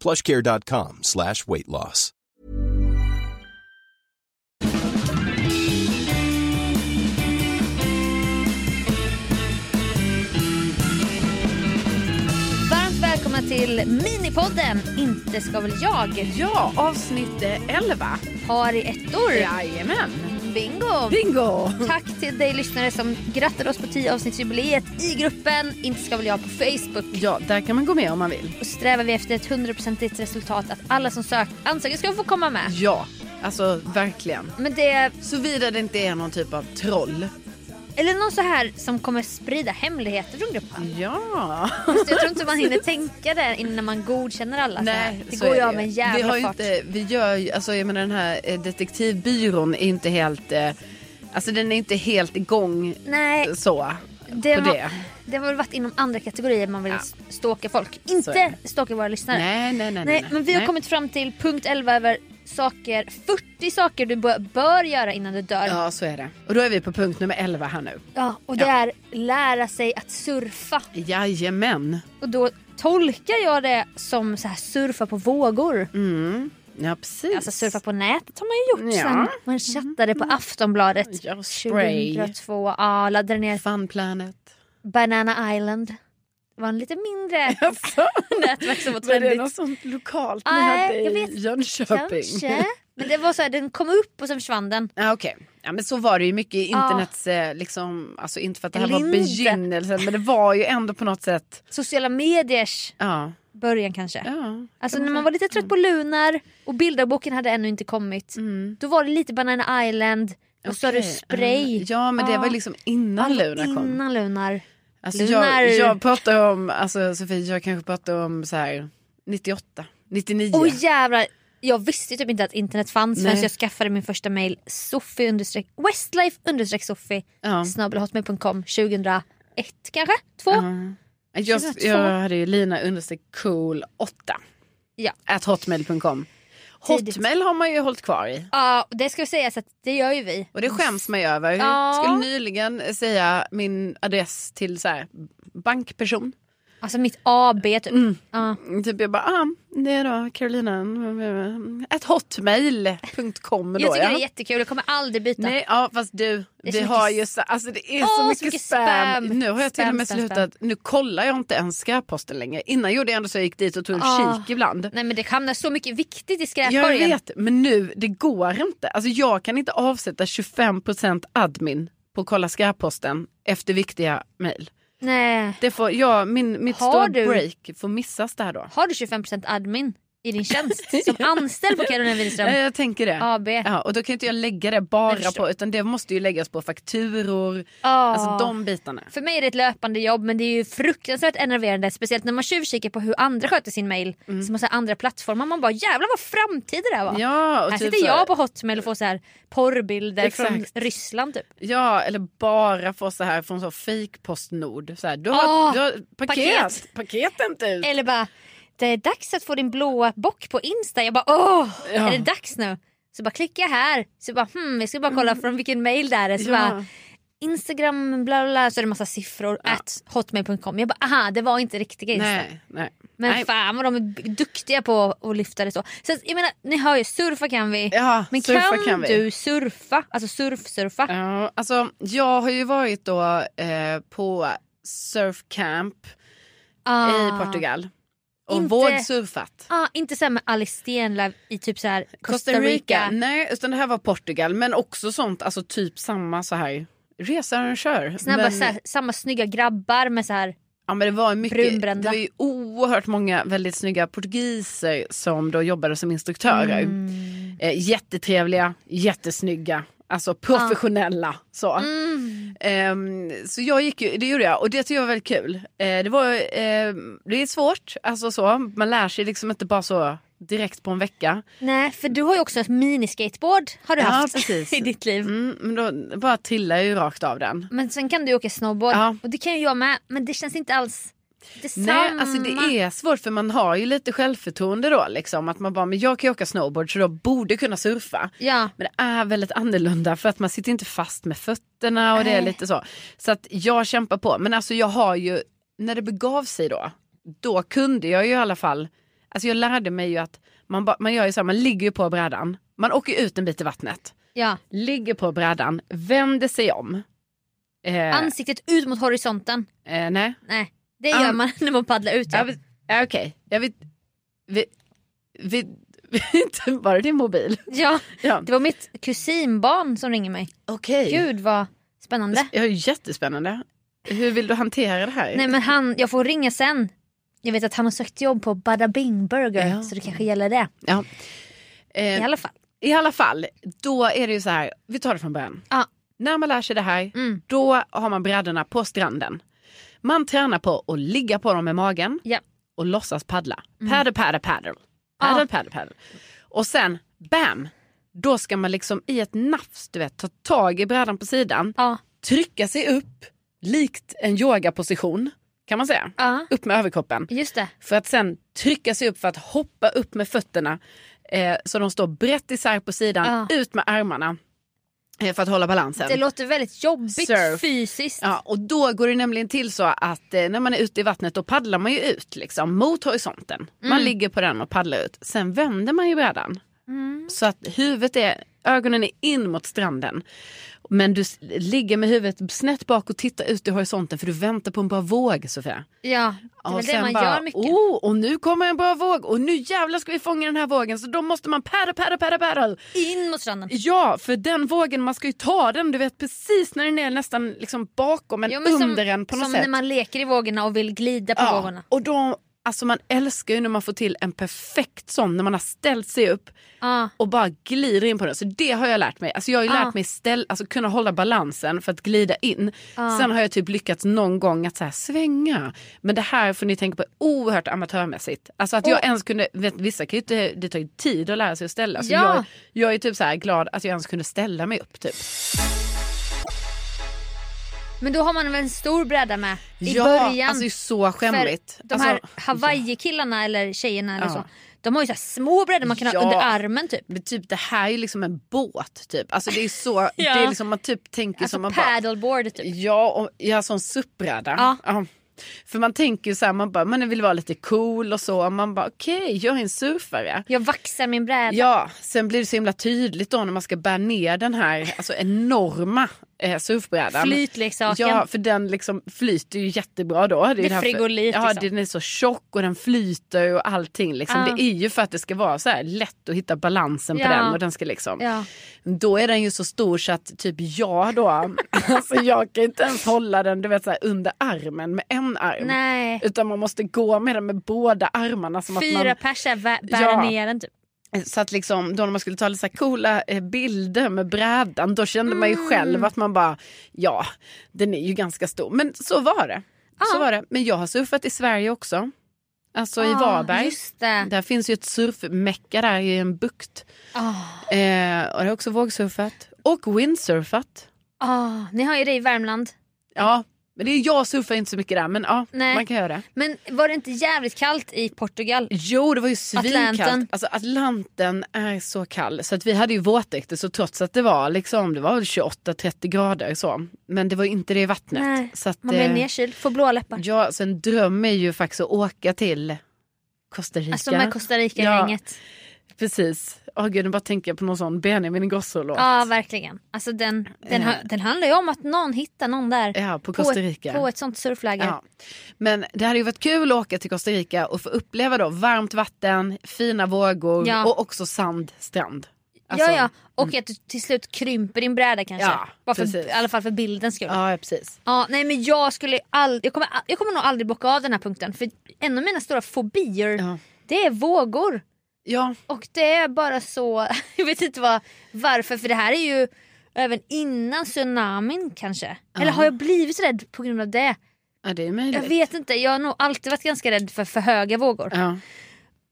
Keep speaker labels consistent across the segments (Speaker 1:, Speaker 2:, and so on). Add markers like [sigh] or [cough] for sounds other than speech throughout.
Speaker 1: plushcare.com slash weight loss.
Speaker 2: Varmt välkomna till Minipodden Inte ska väl jag
Speaker 3: Ja, avsnitt eh, 11.
Speaker 2: har i ettor.
Speaker 3: Jajamän.
Speaker 2: Bingo!
Speaker 3: Bingo!
Speaker 2: Tack till dig lyssnare som grattade oss på 10 avsnittsjubileet i gruppen Inte ska väl jag på Facebook.
Speaker 3: Ja, där kan man gå med om man vill.
Speaker 2: Och strävar vi efter ett 100% resultat att alla som sökt ansöker ska få komma med.
Speaker 3: Ja, alltså verkligen.
Speaker 2: Men det
Speaker 3: Såvida det inte är någon typ av troll.
Speaker 2: eller någon så här som kommer sprida hemligheter från gruppen.
Speaker 3: [laughs] Ja.
Speaker 2: Just, det, jag tror inte man hinner tänka det innan man godkänner alla. så här. Alltså, det
Speaker 3: så
Speaker 2: går
Speaker 3: är
Speaker 2: ju av
Speaker 3: ju.
Speaker 2: med en jävla
Speaker 3: vi har ju
Speaker 2: fart.
Speaker 3: inte, vi gör ju, alltså jag menar den här eh, detektivbyrån är inte helt, eh, alltså den är inte helt igång
Speaker 2: Nej,
Speaker 3: eh, så.
Speaker 2: det
Speaker 3: på
Speaker 2: har,
Speaker 3: det.
Speaker 2: det har väl varit inom andra kategorier man vill
Speaker 3: Ja.
Speaker 2: ja. stalka folk.
Speaker 3: är
Speaker 2: Inte stalka våra lyssnare.
Speaker 3: Nej, nej, nej. nej,
Speaker 2: Nej,
Speaker 3: nej.
Speaker 2: men vi har
Speaker 3: Nej.
Speaker 2: kommit fram till punkt 11 över saker, 40 saker du bör, bör göra innan du dör. Ja.
Speaker 3: Ja, så är det. Och då är vi på punkt nummer 11 här nu.
Speaker 2: och det
Speaker 3: Ja.
Speaker 2: är lära sig att surfa.
Speaker 3: Jajamän.
Speaker 2: Och då tolkar jag det som så här, surfa på vågor.
Speaker 3: Mm. Ja, precis.
Speaker 2: Alltså surfa på nätet har man ju gjort
Speaker 3: Ja. Mm.
Speaker 2: sen. Man chattade på Aftonbladet
Speaker 3: Ja, och spray.
Speaker 2: 2002. Ja, laddade ner
Speaker 3: Fun Planet.
Speaker 2: [laughs] Banana Island. Det var en lite
Speaker 3: [laughs]
Speaker 2: mindre nätverk som var
Speaker 3: Var det
Speaker 2: trendigt.
Speaker 3: något sånt lokalt ni
Speaker 2: Nej,
Speaker 3: hade
Speaker 2: jag vet.
Speaker 3: i Jönköping?
Speaker 2: Kanske.
Speaker 3: [laughs]
Speaker 2: Men det var så här, den kom upp och sen försvann den.
Speaker 3: Ja, Ah, okej. Ja, men så var det ju mycket i
Speaker 2: Ah.
Speaker 3: internets, eh, liksom, alltså inte för att det här var
Speaker 2: Linde.
Speaker 3: begynnelsen men det var ju ändå på något sätt,
Speaker 2: Sociala mediers
Speaker 3: ja.
Speaker 2: början kanske.
Speaker 3: ja.
Speaker 2: Alltså när man var lite trött på
Speaker 3: Mm.
Speaker 2: Lunar och bilderboken hade ännu inte kommit. Då var det lite Banana Island och så sa du
Speaker 3: Okej.
Speaker 2: spray. Ah.
Speaker 3: Mm. Ja men det var ju liksom innan Luna kom.
Speaker 2: Innan Lunar.
Speaker 3: Alltså,
Speaker 2: Lunar.
Speaker 3: jag, jag pratar om, alltså Sofie jag kanske pratar om så här 98, 99.
Speaker 2: Åh jävlar. Jag visste typ inte att internet fanns förrän
Speaker 3: Nej.
Speaker 2: jag skaffade min första mail. Sophie understreck Westlife understreck Sophie
Speaker 3: Ja.
Speaker 2: snabelhotmail.com 2001 kanske? Två?
Speaker 3: jag,
Speaker 2: 2002.
Speaker 3: jag hade ju lina understreck cool 8.
Speaker 2: Ja.
Speaker 3: At hotmail.com.
Speaker 2: Tidigt.
Speaker 3: Hotmail har man ju hållit kvar i.
Speaker 2: Ja, det ska sägas att det gör ju vi.
Speaker 3: Och det skäms man ju över.
Speaker 2: Ja.
Speaker 3: Jag skulle nyligen säga min adress till så här, bankperson.
Speaker 2: Alltså mitt AB typ. Ja.
Speaker 3: Typ jag bara, ah, det är då Carolina, mm, ett hotmail.com då
Speaker 2: Jag tycker
Speaker 3: ja.
Speaker 2: det är jättekul, jag kommer aldrig byta.
Speaker 3: Nej, ja fast du,
Speaker 2: Det är
Speaker 3: vi
Speaker 2: så
Speaker 3: har
Speaker 2: mycket
Speaker 3: ju så, alltså det är
Speaker 2: Åh,
Speaker 3: så,
Speaker 2: så
Speaker 3: mycket
Speaker 2: mycket
Speaker 3: spam.
Speaker 2: spam.
Speaker 3: Nu har jag till
Speaker 2: Spam,
Speaker 3: och med
Speaker 2: spam, spam.
Speaker 3: slutat, nu kollar jag inte ens skräpposten längre. Innan gjorde jag ändå så jag gick dit och tog en
Speaker 2: Ah.
Speaker 3: kik ibland.
Speaker 2: Nej men det hamnar så mycket viktigt i
Speaker 3: Jag
Speaker 2: skräpkorgen.
Speaker 3: vet, men nu, det går inte. Alltså jag kan inte avsätta 25% admin på att kolla skräpposten efter viktiga mejl.
Speaker 2: Nej.
Speaker 3: Det får, ja, min, mitt
Speaker 2: Har
Speaker 3: stora
Speaker 2: du-
Speaker 3: break får missas där då.
Speaker 2: Har du 25% admin i din
Speaker 3: [laughs]
Speaker 2: tjänst som anställd på Carolina
Speaker 3: Ja,
Speaker 2: Widerström
Speaker 3: jag tänker det.
Speaker 2: AB?
Speaker 3: Ja, och då kan inte jag lägga det
Speaker 2: Jag
Speaker 3: bara
Speaker 2: förstår.
Speaker 3: på utan det måste ju läggas på fakturor,
Speaker 2: Ah.
Speaker 3: alltså de bitarna.
Speaker 2: För mig är det ett löpande jobb men det är ju fruktansvärt enerverande speciellt när man tjuvkikar på hur andra sköter sin mail som har så här andra plattformar. Man bara jävlar vad framtid det där var.
Speaker 3: Mm. Ja, och
Speaker 2: här
Speaker 3: typ
Speaker 2: sitter
Speaker 3: så här-
Speaker 2: jag på Hotmail och får så här porrbilder
Speaker 3: Exakt.
Speaker 2: från Ryssland typ.
Speaker 3: Ja, eller bara få så här från så fake Postnord. Så här, du, har,
Speaker 2: Ah,
Speaker 3: du har paket,
Speaker 2: paket.
Speaker 3: paket inte ut.
Speaker 2: Eller bara att det är dags att få din blåa bock på Insta. Jag bara åh,
Speaker 3: Ja.
Speaker 2: är det dags nu? Så bara klickar jag här. Så bara hmm, jag ska bara
Speaker 3: Mm.
Speaker 2: kolla från vilken mail det här är. Så bara, Instagram bla bla, bla så är det massa siffror.
Speaker 3: Ja.
Speaker 2: At hotmail.com. Jag bara aha, det var inte riktiga Insta.
Speaker 3: Nej, nej.
Speaker 2: Men
Speaker 3: nej.
Speaker 2: fan vad de är b- duktiga på att lyfta det så. så att, jag menar, ni hör ju, surfa kan vi.
Speaker 3: Ja,
Speaker 2: Men
Speaker 3: surfa
Speaker 2: kan,
Speaker 3: kan vi.
Speaker 2: du surfa? Alltså surfsurfa?
Speaker 3: Ja, alltså, jag har ju varit då eh, på surfcamp
Speaker 2: Ah.
Speaker 3: i Portugal och
Speaker 2: Inte-
Speaker 3: vågsurfat.
Speaker 2: Ah, inte såhär med Alice Stenlöf i typ så här Costa, Rica.
Speaker 3: Nej, utan det här var Portugal. Men också sånt, alltså typ samma så här. Resa den kör.
Speaker 2: Snabba,
Speaker 3: men,
Speaker 2: så här, samma snygga grabbar med så här.
Speaker 3: ja, men det var ju mycket, det
Speaker 2: brunbrända.
Speaker 3: var ju oerhört många väldigt snygga portugiser som då jobbade som instruktörer.
Speaker 2: Mm.
Speaker 3: Eh, jättetrevliga, jättesnygga, alltså professionella. Så.
Speaker 2: Mm.
Speaker 3: Ehm, så jag gick ju, det gjorde jag och det tyckte jag var väldigt kul. Eh, det, var, ehm, det är svårt, alltså så. man lär sig liksom inte bara så direkt på en vecka.
Speaker 2: Nej för du har ju också ett miniskateboard har du
Speaker 3: Ja,
Speaker 2: haft [laughs]
Speaker 3: precis.
Speaker 2: i ditt liv.
Speaker 3: Mm, men då bara trillar jag ju rakt av den.
Speaker 2: Men sen kan du ju åka snowboard
Speaker 3: Ja.
Speaker 2: och det kan ju jag med men det känns inte alls detsamma.
Speaker 3: Nej, alltså det är svårt för man har ju lite självförtroende då liksom. Att man bara, men jag kan ju åka snowboard så då borde kunna surfa.
Speaker 2: Ja.
Speaker 3: Men det är väldigt annorlunda för att man sitter inte fast med fötterna och det är
Speaker 2: Nej.
Speaker 3: lite så. Så att jag kämpar på. Men alltså jag har ju, när det begav sig då, då kunde jag ju i alla fall, alltså jag lärde mig ju att man, ba, man gör ju så här, man ligger ju på brädan, man åker ut en bit i vattnet,
Speaker 2: ja.
Speaker 3: ligger på brädan, vänder sig om. Eh,
Speaker 2: Ansiktet ut mot horisonten.
Speaker 3: eh, nej.
Speaker 2: Nej det gör
Speaker 3: An-
Speaker 2: man [laughs] när man paddlar ut.
Speaker 3: Ja,
Speaker 2: Ja.
Speaker 3: vi- ja, Okej, jag vet... Vi, vi, vi, [laughs] var det din mobil?
Speaker 2: Ja.
Speaker 3: Ja.
Speaker 2: Det var mitt kusinbarn som ringer mig.
Speaker 3: Okej.
Speaker 2: Gud vad spännande.
Speaker 3: Ja, jättespännande. Hur vill du hantera det här?
Speaker 2: Nej men han, jag får ringa sen. Jag vet att han har sökt jobb på Bada Bing Burger
Speaker 3: Ja.
Speaker 2: så det kanske gäller det.
Speaker 3: ja.
Speaker 2: I
Speaker 3: eh,
Speaker 2: alla fall.
Speaker 3: I alla fall, då är det ju så här, vi tar det från början.
Speaker 2: Ja.
Speaker 3: När man lär sig det här,
Speaker 2: Mm.
Speaker 3: då har man brädorna på stranden. Man tränar på att ligga på dem med magen
Speaker 2: Ja.
Speaker 3: och låtsas paddla.
Speaker 2: Mm.
Speaker 3: Paddle, paddle, paddle. Paddle, paddle, paddle. Och sen, bam! Då ska man liksom i ett nafs, du vet, ta tag i brädan på sidan.
Speaker 2: Ja.
Speaker 3: trycka sig upp likt en yogaposition kan man säga.
Speaker 2: Ja.
Speaker 3: Upp med överkroppen.
Speaker 2: Just det.
Speaker 3: För att sen trycka sig upp för att hoppa upp med fötterna eh, så de står brett isär på sidan, ut med armarna eh, för att hålla balansen.
Speaker 2: Det låter väldigt jobbigt
Speaker 3: Surf.
Speaker 2: fysiskt.
Speaker 3: Ja, och då går det nämligen till så att eh, när man är ute i vattnet då paddlar man ju ut liksom, mot horisonten.
Speaker 2: Mm.
Speaker 3: Man ligger på den och paddlar ut. Sen vänder man ju brädan.
Speaker 2: Mm.
Speaker 3: Så att huvudet är, ögonen är in mot stranden. Men du s- ligger med huvudet snett bak och tittar ut i horisonten för du väntar på en bra våg Sofia.
Speaker 2: Ja, det är väl det
Speaker 3: sen
Speaker 2: man
Speaker 3: bara,
Speaker 2: gör mycket.
Speaker 3: Oh, och nu kommer en bra våg och nu jävlar ska vi fånga den här vågen så då måste man paddle, paddle, paddle, paddle.
Speaker 2: In mot stranden.
Speaker 3: Ja, för den vågen, man ska ju ta den du vet precis när den är nästan liksom bakom en,
Speaker 2: Ja, men
Speaker 3: under en på något
Speaker 2: som
Speaker 3: sätt.
Speaker 2: när man leker i vågorna och vill glida på vågorna.
Speaker 3: och då, alltså man älskar ju när man får till en perfekt sån, när man har ställt sig upp
Speaker 2: Ja.
Speaker 3: och bara glider in på den. Så det har jag lärt mig. Alltså jag har ju
Speaker 2: Ja.
Speaker 3: lärt mig ställ, alltså kunna hålla balansen för att glida in. Sen har jag typ lyckats någon gång att så här svänga. Men det här får ni tänka på är oerhört amatörmässigt. Alltså att jag ens kunde, vet, vissa kan ju inte, det tar ju tid att lära sig att ställa. Så
Speaker 2: Ja.
Speaker 3: jag, jag är typ så här glad att jag ens kunde ställa mig upp typ.
Speaker 2: Men då har man väl en stor bräda med i
Speaker 3: ja,
Speaker 2: början.
Speaker 3: alltså det är så skämmigt.
Speaker 2: För de
Speaker 3: alltså,
Speaker 2: här Hawaii-killarna eller tjejerna eller
Speaker 3: Ja.
Speaker 2: så. De har ju så här små brädor man kan
Speaker 3: Ja.
Speaker 2: ha under armen typ.
Speaker 3: Men typ det här är ju liksom en båt typ. Alltså det är så,
Speaker 2: [laughs] Ja.
Speaker 3: det är liksom man typ tänker
Speaker 2: Alltså
Speaker 3: som man bara.
Speaker 2: paddleboard typ.
Speaker 3: Ja, och, ja som suppräda.
Speaker 2: Ja.
Speaker 3: För man tänker ju så här, man bara, man vill vara lite cool och så. Man bara okej, jag är en surfare.
Speaker 2: Jag vaxar min bräda.
Speaker 3: Ja, sen blir det så himla tydligt då när man ska bära ner den här alltså enorma eh, surfbrädan.
Speaker 2: Flytleksaken.
Speaker 3: Ja, för den liksom flyter ju jättebra då. är
Speaker 2: Med
Speaker 3: därför-
Speaker 2: frigolit,
Speaker 3: Ja,
Speaker 2: liksom.
Speaker 3: den är så tjock och den flyter och allting. Liksom.
Speaker 2: Ja.
Speaker 3: Det är ju för att det ska vara så här lätt att hitta balansen
Speaker 2: Ja.
Speaker 3: på den och den ska liksom.
Speaker 2: Ja.
Speaker 3: Då är den ju så stor så att typ
Speaker 2: [laughs]
Speaker 3: jag då, alltså jag kan inte ens hålla den du vet så här under armen med en arm.
Speaker 2: Nej.
Speaker 3: Utan man måste gå med den med båda armarna. Som
Speaker 2: Fyra
Speaker 3: att man,
Speaker 2: pers är vä- bära
Speaker 3: Ja.
Speaker 2: ner den typ.
Speaker 3: så att liksom, då när man skulle ta lite så här coola eh, bilder med brädan då kände man
Speaker 2: Mm.
Speaker 3: ju själv att man bara, ja den är ju ganska stor. Men så var det. Så var det. Men jag har surfat i Sverige också. Alltså i
Speaker 2: Ah,
Speaker 3: Varberg.
Speaker 2: Just det.
Speaker 3: Där finns ju ett surfmecka där i en bukt.
Speaker 2: Ah,
Speaker 3: Eh, och det har också vågsurfat. Och windsurfat.
Speaker 2: ah, ni har ju det i Värmland.
Speaker 3: Ja, Men det är jag surfar inte så mycket där men ja,
Speaker 2: Nej.
Speaker 3: man kan göra det.
Speaker 2: Men var det inte jävligt kallt i Portugal?
Speaker 3: Jo det var ju
Speaker 2: Atlanten.
Speaker 3: svinkallt. Alltså Atlanten är så kall. Så att vi hade ju våtdräkter så trots att det var liksom, det var 28-30 grader så. Men det var ju inte det i vattnet.
Speaker 2: Nej,
Speaker 3: så att,
Speaker 2: Man blir
Speaker 3: eh,
Speaker 2: nedkyld, får blå läppar.
Speaker 3: Ja, så en dröm är ju faktiskt att åka till Costa Rica.
Speaker 2: Alltså med Costa Rica-gänget.
Speaker 3: Precis. Åh gud, nu bara tänker jag på någon sån Benjamin Ingrosso-låt.
Speaker 2: Ja. verkligen. Alltså den, den, ha- den handlar ju om att någon hittar någon där.
Speaker 3: Eh. Ja, på Costa Rica.
Speaker 2: Ett, på ett sånt surfläger.
Speaker 3: Ja. Men det hade ju varit kul att åka till Costa Rica och få uppleva då varmt vatten, fina vågor
Speaker 2: Ja.
Speaker 3: och också sandstrand.
Speaker 2: ja, ja. Och att du till slut krymper din bräda kanske.
Speaker 3: alltså, mm. Ja,
Speaker 2: Bara för,
Speaker 3: precis.
Speaker 2: I alla fall för bildens skull. Ja.
Speaker 3: Ja, ja, precis.
Speaker 2: nej men jag skulle all, jag, kommer, all- jag kommer nog aldrig bocka av den här punkten. För en av mina stora fobier
Speaker 3: Ja.
Speaker 2: det är vågor.
Speaker 3: Ja,
Speaker 2: Och det är bara så, [laughs] jag vet inte vad, varför, för det här är ju även innan tsunamin kanske. Eller har jag blivit rädd på grund av det?
Speaker 3: ja det är
Speaker 2: Jag
Speaker 3: möjligt.
Speaker 2: vet inte, jag har nog alltid varit ganska rädd för för höga vågor.
Speaker 3: Ja.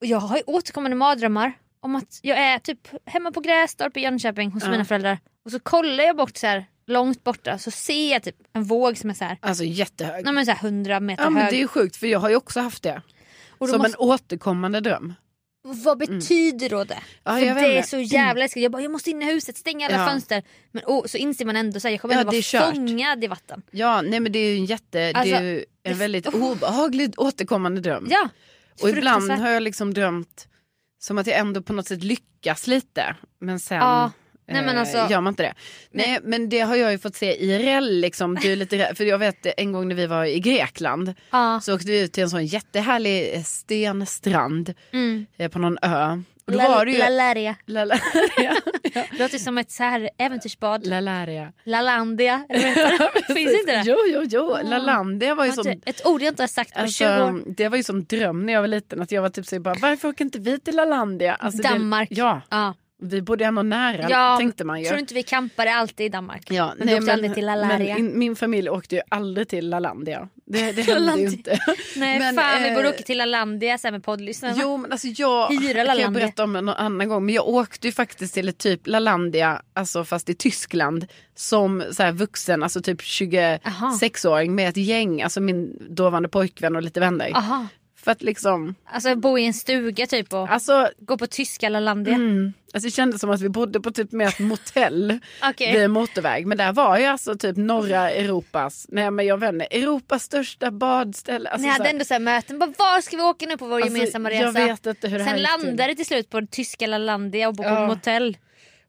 Speaker 2: Och jag har ju återkommande mardrömmar om att jag är typ hemma på Grästorp i Jönköping hos mina föräldrar. Och så kollar jag bort så här långt borta så ser jag typ en våg som är så här,
Speaker 3: Alltså jättehög.
Speaker 2: nej, men så här 100 meter
Speaker 3: Ja, men
Speaker 2: hög.
Speaker 3: det är ju sjukt för jag har ju också haft det.
Speaker 2: och då
Speaker 3: Som
Speaker 2: måste-
Speaker 3: en återkommande dröm.
Speaker 2: Vad betyder då det?
Speaker 3: Mm. Ja,
Speaker 2: För
Speaker 3: jag vet
Speaker 2: det är
Speaker 3: inte.
Speaker 2: så jävla läskigt. Jag bara, jag måste in i huset, stänga alla
Speaker 3: Ja.
Speaker 2: fönster. Men åh, så inser man ändå att jag kommer
Speaker 3: Ja,
Speaker 2: ändå
Speaker 3: det
Speaker 2: vara
Speaker 3: är kört.
Speaker 2: fångad i vatten.
Speaker 3: Ja, nej men det är ju en jätte,
Speaker 2: Alltså,
Speaker 3: det är ju
Speaker 2: det-
Speaker 3: en väldigt obehaglig återkommande dröm.
Speaker 2: Ja,
Speaker 3: Och ibland
Speaker 2: fruktansvärt.
Speaker 3: har jag liksom drömt som att jag ändå på något sätt lyckas lite. Men sen
Speaker 2: Ja. Nej, men
Speaker 3: eh,
Speaker 2: alltså-
Speaker 3: gör man inte det. Nej. men det har jag ju fått se IRL liksom. Du är lite rädd- för jag vet eh, en gång när vi var i Grekland
Speaker 2: Ja.
Speaker 3: så åkte vi ut till en sån jättehärlig eh, stenstrand
Speaker 2: Mm.
Speaker 3: eh, på någon ö. Och då
Speaker 2: La-
Speaker 3: var det ju...
Speaker 2: Lalaria.
Speaker 3: La- la- [laughs] ja.
Speaker 2: Det låter som ett så här äventyrsbad.
Speaker 3: Lalaria. [laughs]
Speaker 2: Lalandia. eller vad heter det? Finns inte det? Ah. typ.
Speaker 3: Jo, jo, jo. Lalandia var ju
Speaker 2: Har
Speaker 3: som...
Speaker 2: inte- Ett ord jag inte har sagt på 20 år.
Speaker 3: Alltså, det var ju som dröm när jag var liten att jag var typ så bara varför åker inte vi till Lalandia? Alltså, det-
Speaker 2: Danmark.
Speaker 3: Ja,
Speaker 2: Ja.
Speaker 3: Vi bodde ändå nära
Speaker 2: Ja,
Speaker 3: tänkte man ju.
Speaker 2: Tror du inte vi kampade alltid i Danmark?
Speaker 3: Ja,
Speaker 2: men vi åkte aldrig till Lalaria.
Speaker 3: Men in, min familj åkte ju aldrig till Lalandia.
Speaker 2: [laughs]
Speaker 3: Det, det hände ju
Speaker 2: Lalandia.
Speaker 3: inte.
Speaker 2: Nej
Speaker 3: men,
Speaker 2: fan vi
Speaker 3: eh,
Speaker 2: borde åka till Lalandia sen med poddlyssnarna.
Speaker 3: Jo men alltså jag
Speaker 2: Hyra
Speaker 3: kan jag
Speaker 2: Lalandia.
Speaker 3: berätta om en annan gång. Men jag åkte ju faktiskt till ett typ Lalandia, alltså fast i Tyskland. Som så här vuxen, alltså typ 26-åring med ett gäng. Alltså min dåvarande pojkvän och lite vänner.
Speaker 2: Aha.
Speaker 3: För att liksom,
Speaker 2: Alltså bo i en stuga typ och
Speaker 3: alltså
Speaker 2: gå på tyska Lalandia.
Speaker 3: Mm. Alltså, det kändes som att vi bodde på typ med ett motell
Speaker 2: [laughs] Okej.
Speaker 3: vid en motorväg. Men där var ju alltså typ norra Europas, nej men jag vet inte, Europas största badställe. Alltså,
Speaker 2: Ni hade
Speaker 3: så här-
Speaker 2: ändå så här möten. Bara, var ska vi åka nu på vår
Speaker 3: Alltså,
Speaker 2: gemensamma resa?
Speaker 3: jag vet inte hur det här
Speaker 2: Sen
Speaker 3: gick till.
Speaker 2: landade det till slut på tyska Lalandia och på ja.
Speaker 3: Ja.
Speaker 2: motell.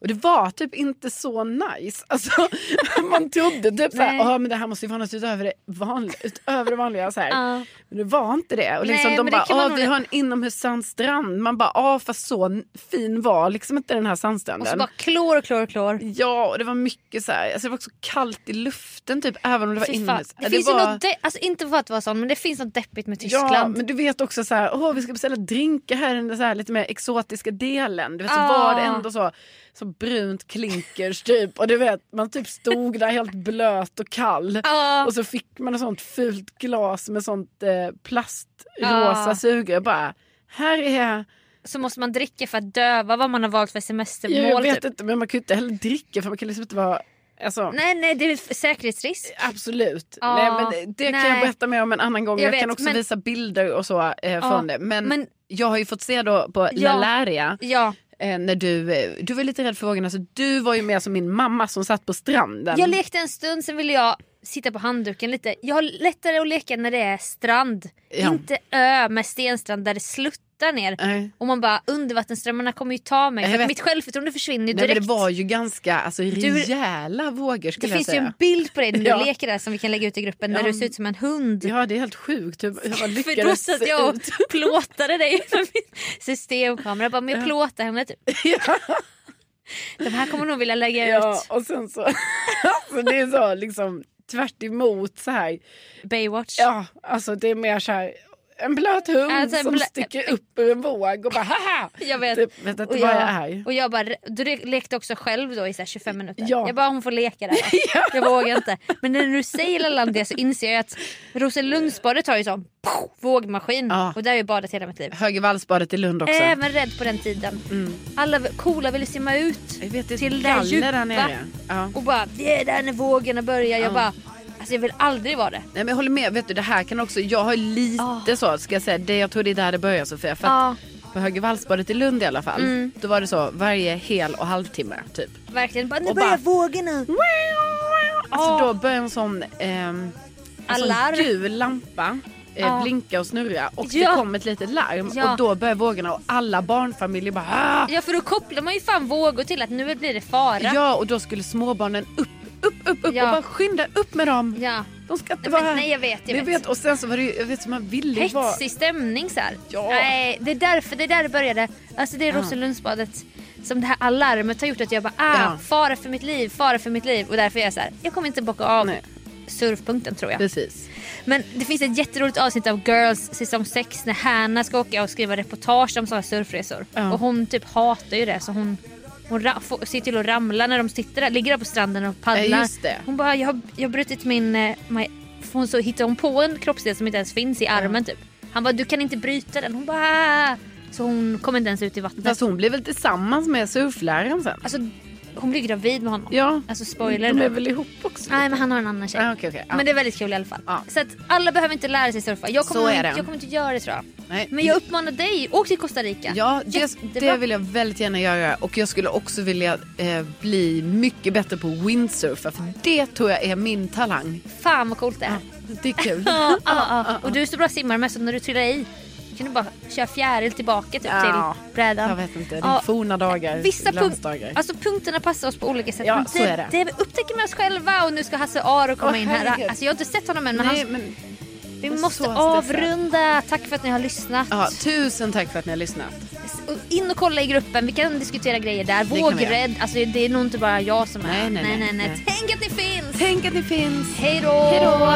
Speaker 3: Och det var typ inte så nice. Alltså, [laughs] man trodde typ såhär,
Speaker 2: Nej.
Speaker 3: "Åh, men det här måste ju vara något utöver det vanliga. Utöver det vanliga så här.
Speaker 2: Ja.
Speaker 3: Men det var inte det. Och liksom,
Speaker 2: Nej,
Speaker 3: de
Speaker 2: men det
Speaker 3: bara,
Speaker 2: kan man
Speaker 3: "Åh,
Speaker 2: nog-
Speaker 3: vi har en inomhussandstrand. Man bara, ja fast så n- fin var liksom inte den här sandstranden.
Speaker 2: Och så bara klor, klor, klor.
Speaker 3: Ja, och det var mycket så här, alltså det var också kallt i luften typ även om det var
Speaker 2: Fy fan.
Speaker 3: inomhus.
Speaker 2: Det, finns
Speaker 3: var,
Speaker 2: ju något de- alltså, inte för att vara sån men det finns något deppigt med
Speaker 3: Ja,
Speaker 2: Tyskland.
Speaker 3: men du vet också så här, åh vi ska beställa drinkar här i den där så här lite mer exotiska delen. Du vet så
Speaker 2: Ah.
Speaker 3: var det ändå så, så brunt klinkers typ och du vet man typ stod där helt blöt
Speaker 2: [laughs]
Speaker 3: och kall.
Speaker 2: Ja.
Speaker 3: Och så fick man ett sånt fult glas med sånt eh, plastrosa
Speaker 2: Ah.
Speaker 3: sugrör bara. Här är
Speaker 2: Så måste man dricka för att döva vad man har valt för semestermål.
Speaker 3: jag, jag vet
Speaker 2: typ.
Speaker 3: inte men man kan ju inte heller dricka för man kan liksom inte vara alltså,
Speaker 2: Nej nej det är f- säkerhetsrisk.
Speaker 3: Absolut.
Speaker 2: Ja,
Speaker 3: nej, men det- det kan
Speaker 2: nej.
Speaker 3: jag berätta mer om en annan gång.
Speaker 2: Jag
Speaker 3: Jag,
Speaker 2: vet,
Speaker 3: kan också
Speaker 2: men-
Speaker 3: visa bilder och så eh, från det. Men,
Speaker 2: men-
Speaker 3: jag har ju fått se då på
Speaker 2: Ja.
Speaker 3: Lalaria
Speaker 2: Ja.
Speaker 3: eh, när du, eh, du var lite rädd för vågorna så du var ju mer som min mamma som satt på stranden.
Speaker 2: Jag lekte en stund sen ville jag sitta på handduken lite. Jag har lättare att leka när det är strand.
Speaker 3: Ja. Äh.
Speaker 2: Inte ö med stenstrand där det sluttar ner.
Speaker 3: Eh, Nej.
Speaker 2: Och man bara undervattensströmmarna kommer ju ta mig.
Speaker 3: Jag
Speaker 2: För att
Speaker 3: vet.
Speaker 2: mitt självförtroende försvinner ju
Speaker 3: Nej,
Speaker 2: direkt.
Speaker 3: men det var ju ganska alltså, rejäla vågor
Speaker 2: Det
Speaker 3: skulle jag
Speaker 2: finns ju
Speaker 3: säga.
Speaker 2: en bild på dig när du
Speaker 3: Ja.
Speaker 2: leker där som vi kan lägga ut i gruppen där
Speaker 3: Ja.
Speaker 2: du ser ut som en hund.
Speaker 3: Ja det är helt sjukt hur hur man
Speaker 2: [laughs] För då
Speaker 3: lyckades
Speaker 2: satt jag och
Speaker 3: ut. [laughs]
Speaker 2: plåtade dig med min systemkamera. Jag Bara, men jag plåtar henne. Typ.
Speaker 3: Ja.
Speaker 2: De här kommer nog vilja lägga
Speaker 3: Ja,
Speaker 2: ut
Speaker 3: och sen så, [laughs] alltså, det är så liksom tvärt emot så här.
Speaker 2: Baywatch.
Speaker 3: Ja, alltså det är mer så här en blöt hund
Speaker 2: Alltså, en
Speaker 3: som
Speaker 2: blö-
Speaker 3: sticker upp ur en våg och bara haha!
Speaker 2: [laughs] Jag vet.
Speaker 3: Typ, vet inte
Speaker 2: och,
Speaker 3: vad
Speaker 2: jag,
Speaker 3: jag är.
Speaker 2: och jag bara, du le- lekte också själv då i så här 25 minuter.
Speaker 3: Ja.
Speaker 2: Jag bara hon får leka
Speaker 3: [laughs]
Speaker 2: där. Jag vågar inte. Men när du säger Lalandia så inser jag att Rosenlundsbadet har ju sån pow, vågmaskin
Speaker 3: Ja.
Speaker 2: och där har jag badat hela mitt liv.
Speaker 3: Högervallsbadet i Lund också.
Speaker 2: Även Eh, rädd på den tiden. Alla v- coola ville simma ut
Speaker 3: Mm. jag vet, det är
Speaker 2: till
Speaker 3: till
Speaker 2: det
Speaker 3: galler
Speaker 2: djupa
Speaker 3: där nere. Ja.
Speaker 2: och bara vi är där när vågorna börjar. Jag bara Alltså jag vill aldrig vara det.
Speaker 3: Nej, men jag håller med, vet du det här kan också, jag har lite
Speaker 2: Ah.
Speaker 3: så ska jag säga, det, jag tror det är där det börjar Sofia. För att
Speaker 2: Ja,
Speaker 3: på Högervallsbadet i Lund i alla fall,
Speaker 2: Mm.
Speaker 3: då var det så varje hel och halvtimme typ.
Speaker 2: verkligen. Bara, nu
Speaker 3: Och
Speaker 2: börjar
Speaker 3: bara-
Speaker 2: vågorna.
Speaker 3: Alltså
Speaker 2: Ja.
Speaker 3: då börjar en sån, ehm, en sån
Speaker 2: Ah. Alarm.
Speaker 3: gul lampa eh,
Speaker 2: Ja.
Speaker 3: blinka och snurra och det
Speaker 2: Ja.
Speaker 3: kom ett litet larm
Speaker 2: Ja.
Speaker 3: och då börjar vågorna och alla barnfamiljer bara "Ah!"
Speaker 2: Ja för då kopplar man ju fan vågor till att nu blir det fara.
Speaker 3: Ja och då skulle småbarnen upp, upp, upp, upp
Speaker 2: Ja.
Speaker 3: och bara skynda upp med dem.
Speaker 2: Ja.
Speaker 3: De ska inte
Speaker 2: Nej,
Speaker 3: vara
Speaker 2: men,
Speaker 3: här.
Speaker 2: nej jag vet, jag
Speaker 3: Jag vet. Och sen så var det ju, jag vet som man ville ju vara.
Speaker 2: Hetsig stämning så här.
Speaker 3: Ja.
Speaker 2: Nej, det är därför det är där det började. Alltså det är
Speaker 3: Ja.
Speaker 2: Rosenlundsbadet som det här alarmet har gjort att jag bara ah,
Speaker 3: Ja.
Speaker 2: fara för mitt liv, fara för mitt liv. Och därför är jag så här, jag kommer inte bocka av
Speaker 3: Nej.
Speaker 2: surfpunkten tror jag.
Speaker 3: Precis.
Speaker 2: Men det finns ett jätteroligt avsnitt av Girls säsong 6 när Hanna ska åka och skriva reportage om sådana surfresor.
Speaker 3: Ja.
Speaker 2: Och hon typ hatar ju det så hon, hon ra- får, ser till att ramla när de sitter där, ligger där på stranden och paddlar.
Speaker 3: Ja, just det.
Speaker 2: Hon bara jag har, jag har brutit min... eh, My, hon så hittar hon på en kroppsdel som inte ens finns i armen typ. Han bara du kan inte bryta den. Hon bara "Ah." Så hon kommer inte ens ut i vattnet.
Speaker 3: Fast hon blev väl tillsammans med surfläraren sen?
Speaker 2: Alltså hon blir gravid med honom.
Speaker 3: Ja.
Speaker 2: Alltså spoiler
Speaker 3: De är
Speaker 2: nu.
Speaker 3: väl ihop också?
Speaker 2: Nej men han har en annan tjej.
Speaker 3: Ah, okej, okej. Ja.
Speaker 2: Men det är väldigt kul i alla fall.
Speaker 3: Ja.
Speaker 2: Så att alla behöver inte lära sig surfa. Jag kommer,
Speaker 3: Så är
Speaker 2: inte,
Speaker 3: det.
Speaker 2: jag kommer inte göra det tror jag.
Speaker 3: Nej.
Speaker 2: Men jag uppmanar dig, åk till Costa Rica.
Speaker 3: Ja, det,
Speaker 2: Jättebra.
Speaker 3: det vill jag väldigt gärna göra. Och jag skulle också vilja eh, bli mycket bättre på windsurfa. För det tror jag är min talang.
Speaker 2: Fan vad coolt det är.
Speaker 3: Det är kul.
Speaker 2: [laughs] Ja, ja, ja. Och du är så bra simmare med så när du trillar i kan du bara köra fjäril tillbaka typ,
Speaker 3: Ja.
Speaker 2: till brädan.
Speaker 3: Jag vet inte, det är
Speaker 2: Ja.
Speaker 3: forna dagar,
Speaker 2: Vissa
Speaker 3: glansdagar.
Speaker 2: punk- alltså, punkterna passar oss på olika sätt.
Speaker 3: Ja,
Speaker 2: Men
Speaker 3: så
Speaker 2: det,
Speaker 3: är det.
Speaker 2: det upptäcker vi oss själva och nu ska Hasse Aro komma
Speaker 3: Åh,
Speaker 2: in här.
Speaker 3: herregud.
Speaker 2: Alltså, jag har inte sett honom än men,
Speaker 3: Nej,
Speaker 2: han,
Speaker 3: men,
Speaker 2: vi
Speaker 3: jag är
Speaker 2: måste
Speaker 3: så stressad.
Speaker 2: avrunda. Tack för att ni har lyssnat.
Speaker 3: ja, tusen tack för att ni har lyssnat.
Speaker 2: Och In och kolla i gruppen, vi kan diskutera grejer där.
Speaker 3: kan vi göra.
Speaker 2: Vågrädd, alltså det är nog inte bara jag som är
Speaker 3: Nej, nej, nej, nej.
Speaker 2: Tänk att ni finns!
Speaker 3: Tänk att ni finns.
Speaker 2: Hej då!